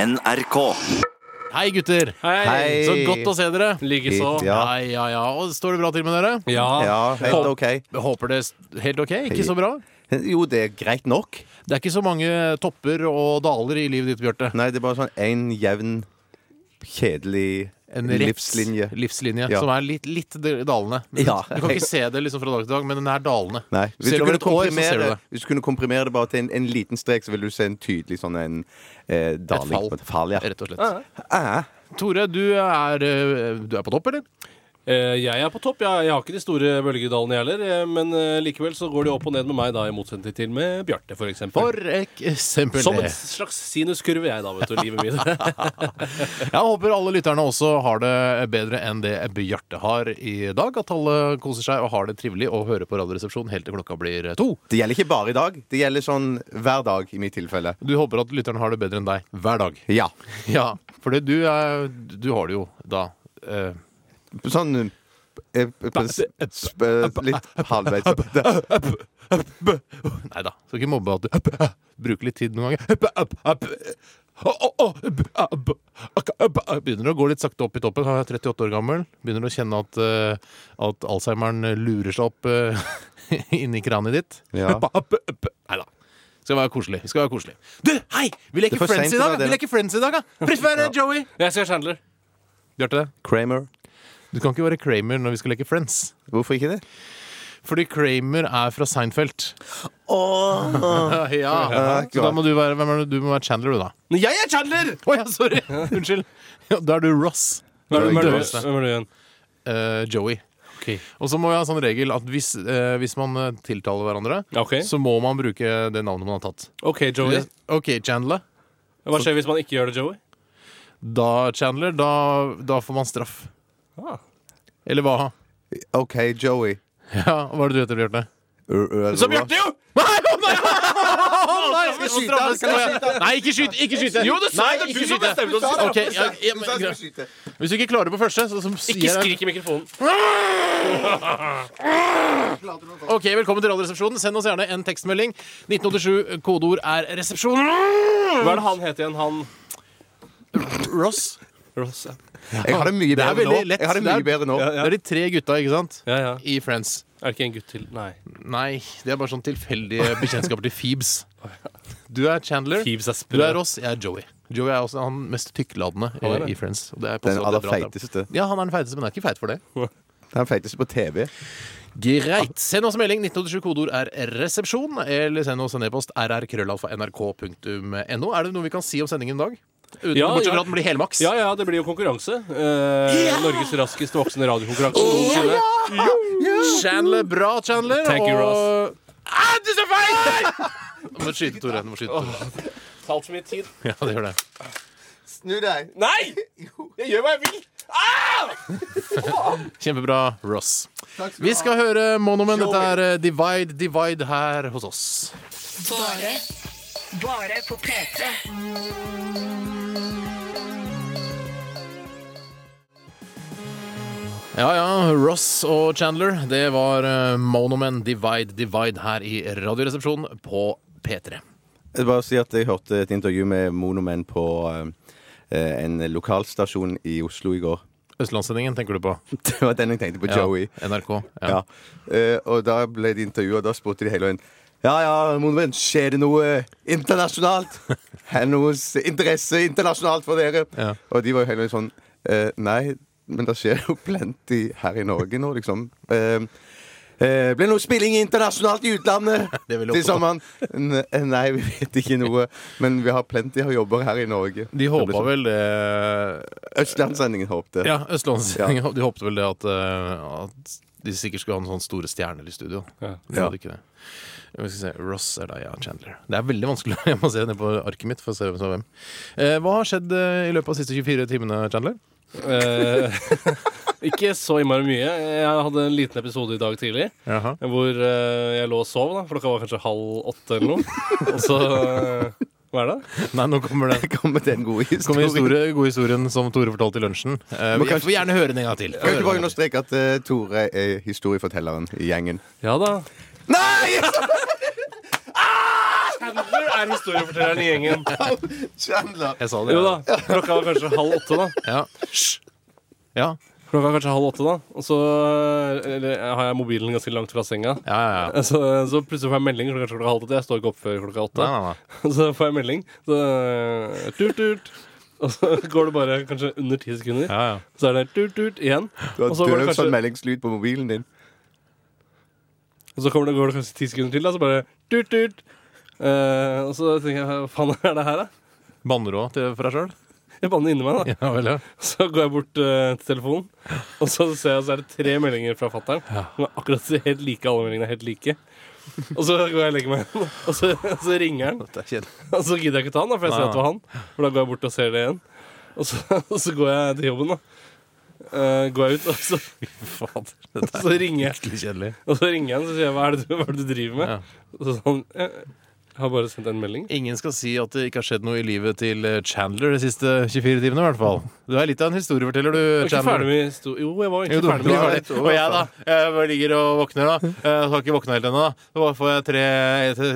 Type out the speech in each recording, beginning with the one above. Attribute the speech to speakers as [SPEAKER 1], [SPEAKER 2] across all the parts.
[SPEAKER 1] NRK.
[SPEAKER 2] Hei, gutter!
[SPEAKER 3] Hei.
[SPEAKER 2] Så godt å se dere.
[SPEAKER 3] Likeså.
[SPEAKER 2] Ja.
[SPEAKER 3] Ja.
[SPEAKER 2] Hei, ja, ja. Og står det bra til med dere?
[SPEAKER 3] ja.
[SPEAKER 1] Ja, helt ok.
[SPEAKER 2] Håper det er helt OK? Ikke så bra?
[SPEAKER 1] Jo, det er greit nok.
[SPEAKER 2] Det er ikke så mange topper og daler i livet ditt, Bjarte.
[SPEAKER 1] Nei, det er bare sånn én jevn, kjedelig
[SPEAKER 2] En rett
[SPEAKER 1] livslinje.
[SPEAKER 2] livslinje
[SPEAKER 1] Ja.
[SPEAKER 2] som er litt, litt dalende. Men
[SPEAKER 1] Ja.
[SPEAKER 2] Du kan ikke se det liksom fra dag til dag, men den er dalende.
[SPEAKER 1] Nei. Hvis
[SPEAKER 2] Ser
[SPEAKER 1] du,
[SPEAKER 2] du
[SPEAKER 1] kunne
[SPEAKER 2] over et år, så ser du
[SPEAKER 1] komprimere,
[SPEAKER 2] det.
[SPEAKER 1] hvis du kunne komprimere det bare til en, en liten strek, så ville du se en tydelig sånn en eh, daling.
[SPEAKER 2] fall.
[SPEAKER 1] Et fall ja. Ah.
[SPEAKER 2] Rett og slett. Tore, du er, eh, du er på topp, eller?
[SPEAKER 3] Eh, Jeg er på topp. Jeg, jeg har ikke de store bølgedalene, jeg heller. eh, Men eh, likevel så går de opp og ned med meg, da, i motsetning til med Bjarte, for eksempel.
[SPEAKER 2] For eksempel.
[SPEAKER 3] Som en slags sinuskurve, jeg, da, vet du. Livet mitt.
[SPEAKER 2] Jeg håper alle lytterne også har det bedre enn det Bjarte har i dag. At alle koser seg og har det trivelig og hører på Radioresepsjonen helt til klokka blir to.
[SPEAKER 1] Det gjelder ikke bare i dag. Det gjelder sånn hver dag, i mitt tilfelle.
[SPEAKER 2] Du håper at lytterne har det bedre enn deg hver dag.
[SPEAKER 1] Ja.
[SPEAKER 2] Ja, for det- du, er- du har det jo da. eh,
[SPEAKER 1] Sånn eh, eh, sp- eh, Litt halvveis opp.
[SPEAKER 2] Nei da, skal ikke mobbe at du bruker litt tid noen ganger. Begynner å gå litt sakte opp i toppen. Jeg er 38 år gammel. Begynner å kjenne at, eh, at alzheimeren lurer seg opp eh, inni kraniet ditt.
[SPEAKER 1] Ja.
[SPEAKER 2] Nei da. Skal være koselig. Skal være koselig. Du, hei! Vi leker
[SPEAKER 1] Det er for
[SPEAKER 2] Friends
[SPEAKER 1] sent
[SPEAKER 2] i
[SPEAKER 1] å være
[SPEAKER 2] dag! da. Vi
[SPEAKER 1] det.
[SPEAKER 2] leker Friends i dag, da! Preferer Joey!
[SPEAKER 3] Jeg ser Chandler.
[SPEAKER 2] Bjarte,
[SPEAKER 1] Kramer.
[SPEAKER 2] du kan ikke være Kramer når vi skal leke Friends.
[SPEAKER 1] Hvorfor ikke det?
[SPEAKER 2] Fordi Kramer er fra Seinfeld. ja.
[SPEAKER 1] Ja,
[SPEAKER 2] Så da må du være, hvem er det? du må være Chandler, du, da.
[SPEAKER 3] Men jeg er Chandler!
[SPEAKER 2] Å ja, sorry! Unnskyld. Ja, da er du Ross.
[SPEAKER 3] Hvem er du- hvem er du
[SPEAKER 2] Døveste.
[SPEAKER 3] hvem er du igjen?
[SPEAKER 2] Eh, Joey. Og så må vi ha en sånn regel at hvis, eh, hvis man eh, tiltaler hverandre,
[SPEAKER 3] Ok.
[SPEAKER 2] så må man bruke det navnet man har tatt.
[SPEAKER 3] OK, Joey.
[SPEAKER 2] OK, Chandler.
[SPEAKER 3] Hva skjer hvis man ikke gjør det, Joey?
[SPEAKER 2] Da, Chandler, da, da får man straff.
[SPEAKER 3] Ah.
[SPEAKER 2] Eller hva?
[SPEAKER 1] OK, Joey.
[SPEAKER 2] Ja, hva er det du heter, Bjarte?
[SPEAKER 3] Så Bjarte, jo!
[SPEAKER 2] Nei, jeg skal skyte, jeg skal skyte. Nei, ikke skyte! Ikke skyte!
[SPEAKER 3] Jo, du sa
[SPEAKER 2] Nei, ikke
[SPEAKER 3] det! Det er du som
[SPEAKER 2] skyte.
[SPEAKER 3] bestemte oss.
[SPEAKER 2] Ok, ja, ja, men greit. Hvis du ikke klarer det på første, så, så sier
[SPEAKER 3] Ikke
[SPEAKER 2] jeg-
[SPEAKER 3] skrik i mikrofonen.
[SPEAKER 2] Ok, Velkommen til Radioresepsjonen. Send oss gjerne en tekstmelding. 1987, kodeord er 'resepsjon'.
[SPEAKER 3] Hva er det han het igjen? Han
[SPEAKER 2] Ross.
[SPEAKER 3] Ross. ja.
[SPEAKER 1] Jeg har det mye
[SPEAKER 2] er
[SPEAKER 1] bedre nå.
[SPEAKER 2] veldig lett.
[SPEAKER 1] Jeg har det
[SPEAKER 2] Det er-
[SPEAKER 1] mye bedre nå.
[SPEAKER 2] Det er de tre gutta, ikke sant?
[SPEAKER 3] Ja, ja.
[SPEAKER 2] I Friends.
[SPEAKER 3] Er det ikke en gutt til? Nei.
[SPEAKER 2] Nei, det er bare sånn tilfeldige bekjentskaper til Phoebes. Du er Chandler.
[SPEAKER 3] Phoebes er sprø.
[SPEAKER 2] Du er Ross, jeg er Joey. Joey er også han mest tykkladende
[SPEAKER 3] Han er
[SPEAKER 2] i,
[SPEAKER 3] det.
[SPEAKER 2] i Friends. Og det er
[SPEAKER 1] Den
[SPEAKER 2] passer
[SPEAKER 1] aller
[SPEAKER 2] at det er bra at det er-
[SPEAKER 1] feiteste.
[SPEAKER 2] Ja, han er den feiteste, men han er ikke feit for det.
[SPEAKER 1] Den feiteste på TV.
[SPEAKER 2] Greit. Send oss en melding. 1987 kodeord er resepsjon. Eller send oss en e-post rrkrøllalfa.nrk.no. Er det noe vi kan si om sendingen i dag? Uten,
[SPEAKER 3] Ja,
[SPEAKER 2] bortsett
[SPEAKER 3] ja.
[SPEAKER 2] fra at den blir helmaks.
[SPEAKER 3] Ja, ja, det blir jo konkurranse. Eh, Norges raskest voksende radiokonkurranse noensinne.
[SPEAKER 2] Chandler, bra Chandler.
[SPEAKER 3] Thank you,
[SPEAKER 2] og... Ah, du er så feil! Du må skyte, Tore. Du må skyte, Tore.
[SPEAKER 3] Talt så mye tid.
[SPEAKER 2] Ja, det gjør det.
[SPEAKER 1] Snu deg.
[SPEAKER 3] Nei! Jeg gjør hva jeg vil!
[SPEAKER 2] Kjempebra, Ross. Vi skal høre Monomen. Dette er eh, Divide Divide her hos oss.
[SPEAKER 4] Bare Bare på P3
[SPEAKER 2] Ja, ja. Ross og Chandler, det var eh, Monomen Divide Divide her i Radioresepsjonen på P3.
[SPEAKER 1] Jeg vil bare si at jeg hørte et intervju med Monomen på eh, en lokalstasjon i Oslo i går.
[SPEAKER 2] Østlandssendingen tenker du på?
[SPEAKER 1] Det var den jeg tenkte på, Joey.
[SPEAKER 2] Ja, NRK. Ja.
[SPEAKER 1] Ja. Eh, og da ble det intervju, og da spurte de hele veien Ja, ja, Monomen, skjer det noe internasjonalt? Er det noe s- interesse internasjonalt for dere?
[SPEAKER 2] Ja.
[SPEAKER 1] Og de var jo hele veien sånn eh, Nei, men det skjer jo plenty her i Norge nå, liksom. Eh, Eh, blir det noe spilling internasjonalt i utlandet
[SPEAKER 2] Det er veldig
[SPEAKER 1] til
[SPEAKER 2] opptatt av.
[SPEAKER 1] sommeren? N eh, nei, vi vet ikke noe. Men vi har plenty av jobber her i Norge.
[SPEAKER 2] De håpa
[SPEAKER 1] Det liksom- ble
[SPEAKER 2] vel det
[SPEAKER 1] sånn. Østlandssendingen håpte.
[SPEAKER 2] Ja, Østlandssendingen. De håpte vel det at, eh, at de sikkert skulle ha noen sånne store stjerner i studio.
[SPEAKER 3] Ja.
[SPEAKER 2] De hadde ikke det. Vi skal se. Ross er deg, ja. Chandler. Det er veldig vanskelig. Jeg må se ned på arket mitt for å se hvem som er hvem. Eh, hva har skjedd eh, i løpet av de siste 24 timene, Chandler?
[SPEAKER 3] Eh, ikke så innmari mye. Jeg hadde en liten episode i dag tidlig
[SPEAKER 2] Jaha.
[SPEAKER 3] hvor eh, jeg lå og sov. da Klokka var kanskje halv åtte eller noe. Og så eh, Hva er det?
[SPEAKER 2] Nei, nå kommer det.
[SPEAKER 1] Kommer det en god
[SPEAKER 2] Så kommer
[SPEAKER 1] historie?
[SPEAKER 2] historie, gode historien som Tore fortalte i lunsjen. Eh,
[SPEAKER 1] Må
[SPEAKER 2] jeg
[SPEAKER 1] kanskje-
[SPEAKER 2] får gjerne høre den en gang til.
[SPEAKER 1] Kan du ikke bare understreke at eh, Tore er historiefortelleren i gjengen?
[SPEAKER 3] Ja da.
[SPEAKER 1] Nei!
[SPEAKER 3] Chandler er historiefortelleren i gjengen.
[SPEAKER 1] Chandler.
[SPEAKER 2] Jeg sa det.
[SPEAKER 3] Jo da,
[SPEAKER 2] ja.
[SPEAKER 3] klokka var kanskje halv åtte, da.
[SPEAKER 2] Ja. Hysj. Ja.
[SPEAKER 3] Klokka er kanskje halv åtte, da. Og så eh, eller, har jeg mobilen ganske langt fra senga. Eh,
[SPEAKER 2] Ja, ja, ja.
[SPEAKER 3] Så, så plutselig får jeg melding klokka klokka halv åtte. Jeg står ikke opp før klokka åtte.
[SPEAKER 2] Nei, nei, nei.
[SPEAKER 3] Så får jeg melding. Så, eh, tut, tut. Og så går det bare kanskje under ti sekunder.
[SPEAKER 2] Ja, ja.
[SPEAKER 3] Så er det tut-tut igjen.
[SPEAKER 1] Du har
[SPEAKER 3] Og så går
[SPEAKER 1] døv
[SPEAKER 3] det
[SPEAKER 1] sånn
[SPEAKER 3] kanskje-
[SPEAKER 1] meldingslyd på mobilen din.
[SPEAKER 3] Og så kommer det, går det kanskje ti sekunder til, da, så bare tut-tut. og så tenker jeg hva faen er det her, da?
[SPEAKER 2] Banner òg for deg sjøl?
[SPEAKER 3] Jeg banner inni meg, da.
[SPEAKER 2] Ja vel, ja.
[SPEAKER 3] Så går jeg bort eh, til telefonen, og så ser jeg så er det tre meldinger fra fatter'n. Som er akkurat helt like. Alle meldingene er helt like. Og så går jeg og legger meg igjen, og så, og så ringer han.
[SPEAKER 2] Det er kjedelig.
[SPEAKER 3] Og så gidder jeg ikke ta den, da, for jeg ser
[SPEAKER 2] Nei.
[SPEAKER 3] at det var han. For da går jeg bort og ser det igjen. Og så, og så går jeg til jobben, da. Eh, går jeg ut, og så,
[SPEAKER 2] Fader, dette
[SPEAKER 3] så ringer jeg.
[SPEAKER 2] skikkelig kjedelig.
[SPEAKER 3] Og så ringer jeg han og sier jeg, hva er det du, hva er det du driver med?
[SPEAKER 2] Ja.
[SPEAKER 3] Og så sånn, jeg har bare sendt en melding.
[SPEAKER 2] Ingen skal si at det ikke har skjedd noe i livet til eh, Chandler de siste 24 timene. i hvert fall Du er litt av en historieforteller,
[SPEAKER 3] Jeg
[SPEAKER 2] du,
[SPEAKER 3] var ikke ferdig
[SPEAKER 2] Chandler.
[SPEAKER 3] med histo- Jo, jeg var
[SPEAKER 2] Jo, du
[SPEAKER 3] egentlig
[SPEAKER 2] var
[SPEAKER 3] ferdig med
[SPEAKER 1] var
[SPEAKER 2] ferdig.
[SPEAKER 1] litt over,
[SPEAKER 2] Og jeg, da. Jeg bare ligger og våkner, da. Jeg har ikke våkna helt ennå, da. Så bare får jeg tre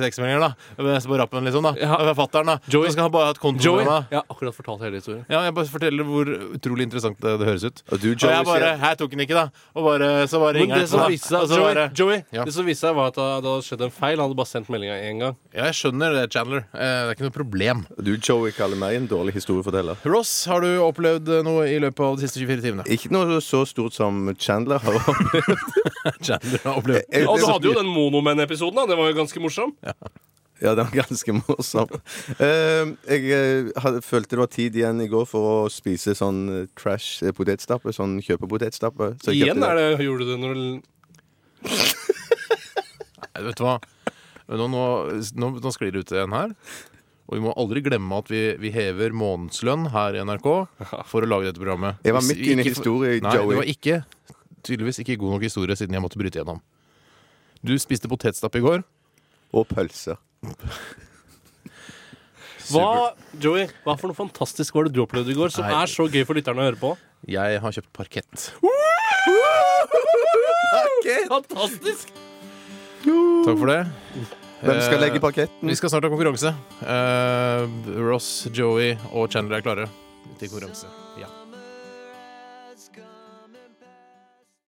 [SPEAKER 2] tekstmeldinger, da. Mens På rappen, liksom, da.
[SPEAKER 3] Ja.
[SPEAKER 2] Fra fatter'n, da.
[SPEAKER 3] Joey.
[SPEAKER 2] Så skal han bare ha et konto
[SPEAKER 3] Joey.
[SPEAKER 2] med meg.
[SPEAKER 3] Jeg har akkurat fortalt hele historien.
[SPEAKER 2] Ja, jeg bare forteller hvor utrolig interessant det, det høres ut.
[SPEAKER 1] Og du,
[SPEAKER 2] Og
[SPEAKER 1] Joey,
[SPEAKER 2] jeg bare
[SPEAKER 1] sier
[SPEAKER 2] Her tok han ikke, da. Og bare, så bare
[SPEAKER 3] Men
[SPEAKER 2] ringer
[SPEAKER 3] det
[SPEAKER 2] han.
[SPEAKER 3] som
[SPEAKER 2] da.
[SPEAKER 3] viste seg,
[SPEAKER 2] Og så
[SPEAKER 3] Joey,
[SPEAKER 2] bare-
[SPEAKER 3] Joey,
[SPEAKER 2] Ja.
[SPEAKER 3] det som viste seg var at det det hadde skjedd en feil. Han hadde bare sendt meldinga én gang.
[SPEAKER 2] Ja, jeg skjønner det, Chandler. Eh, Det er ikke noe problem.
[SPEAKER 1] Du, Joey, kaller meg en dårlig historieforteller.
[SPEAKER 2] Ross, har du opplevd noe i løpet av de siste 24 timene?
[SPEAKER 1] Ikke noe så stort som Chandler har
[SPEAKER 2] Chandler har opplevd
[SPEAKER 1] Jeg-
[SPEAKER 3] Og du hadde jo den Monomenn-episoden, da. Den var jo ganske morsom.
[SPEAKER 1] Ja, den var ganske morsom. Eh, jeg eh, hadde, følte det var tid igjen i går for å spise sånn eh, trash eh, potetstappe. Sånn kjøpe potetstappe. Så jeg
[SPEAKER 3] Igjen
[SPEAKER 1] kjøpte
[SPEAKER 3] er det, gjorde du det når du
[SPEAKER 1] eh.
[SPEAKER 2] Nei, Vet du hva? Nå, nå, nå, nå sklir det ut en her. Og vi må aldri glemme at vi, vi hever månedslønn her i NRK for å lage dette programmet.
[SPEAKER 1] Jeg var
[SPEAKER 2] Hvis
[SPEAKER 1] midt
[SPEAKER 2] vi
[SPEAKER 1] inne i
[SPEAKER 2] ikke får-
[SPEAKER 1] historie,
[SPEAKER 2] Nei,
[SPEAKER 1] Joey.
[SPEAKER 2] det var ikke, tydeligvis ikke god nok historie siden jeg måtte bryte gjennom. Du spiste potetstapp i går.
[SPEAKER 1] Og pølser.
[SPEAKER 3] Hva, Joey, hva for noe fantastisk var det du opplevde i går som
[SPEAKER 2] Nei.
[SPEAKER 3] er så gøy for lytterne å høre på?
[SPEAKER 2] Jeg har kjøpt parkett.
[SPEAKER 3] Fantastisk!
[SPEAKER 2] Takk for det.
[SPEAKER 1] Hvem skal
[SPEAKER 2] Eh,
[SPEAKER 1] legge parketten?
[SPEAKER 2] Vi skal snart ha konkurranse. Eh, Ross, Joey og Chandler er klare til konkurranse. Ja.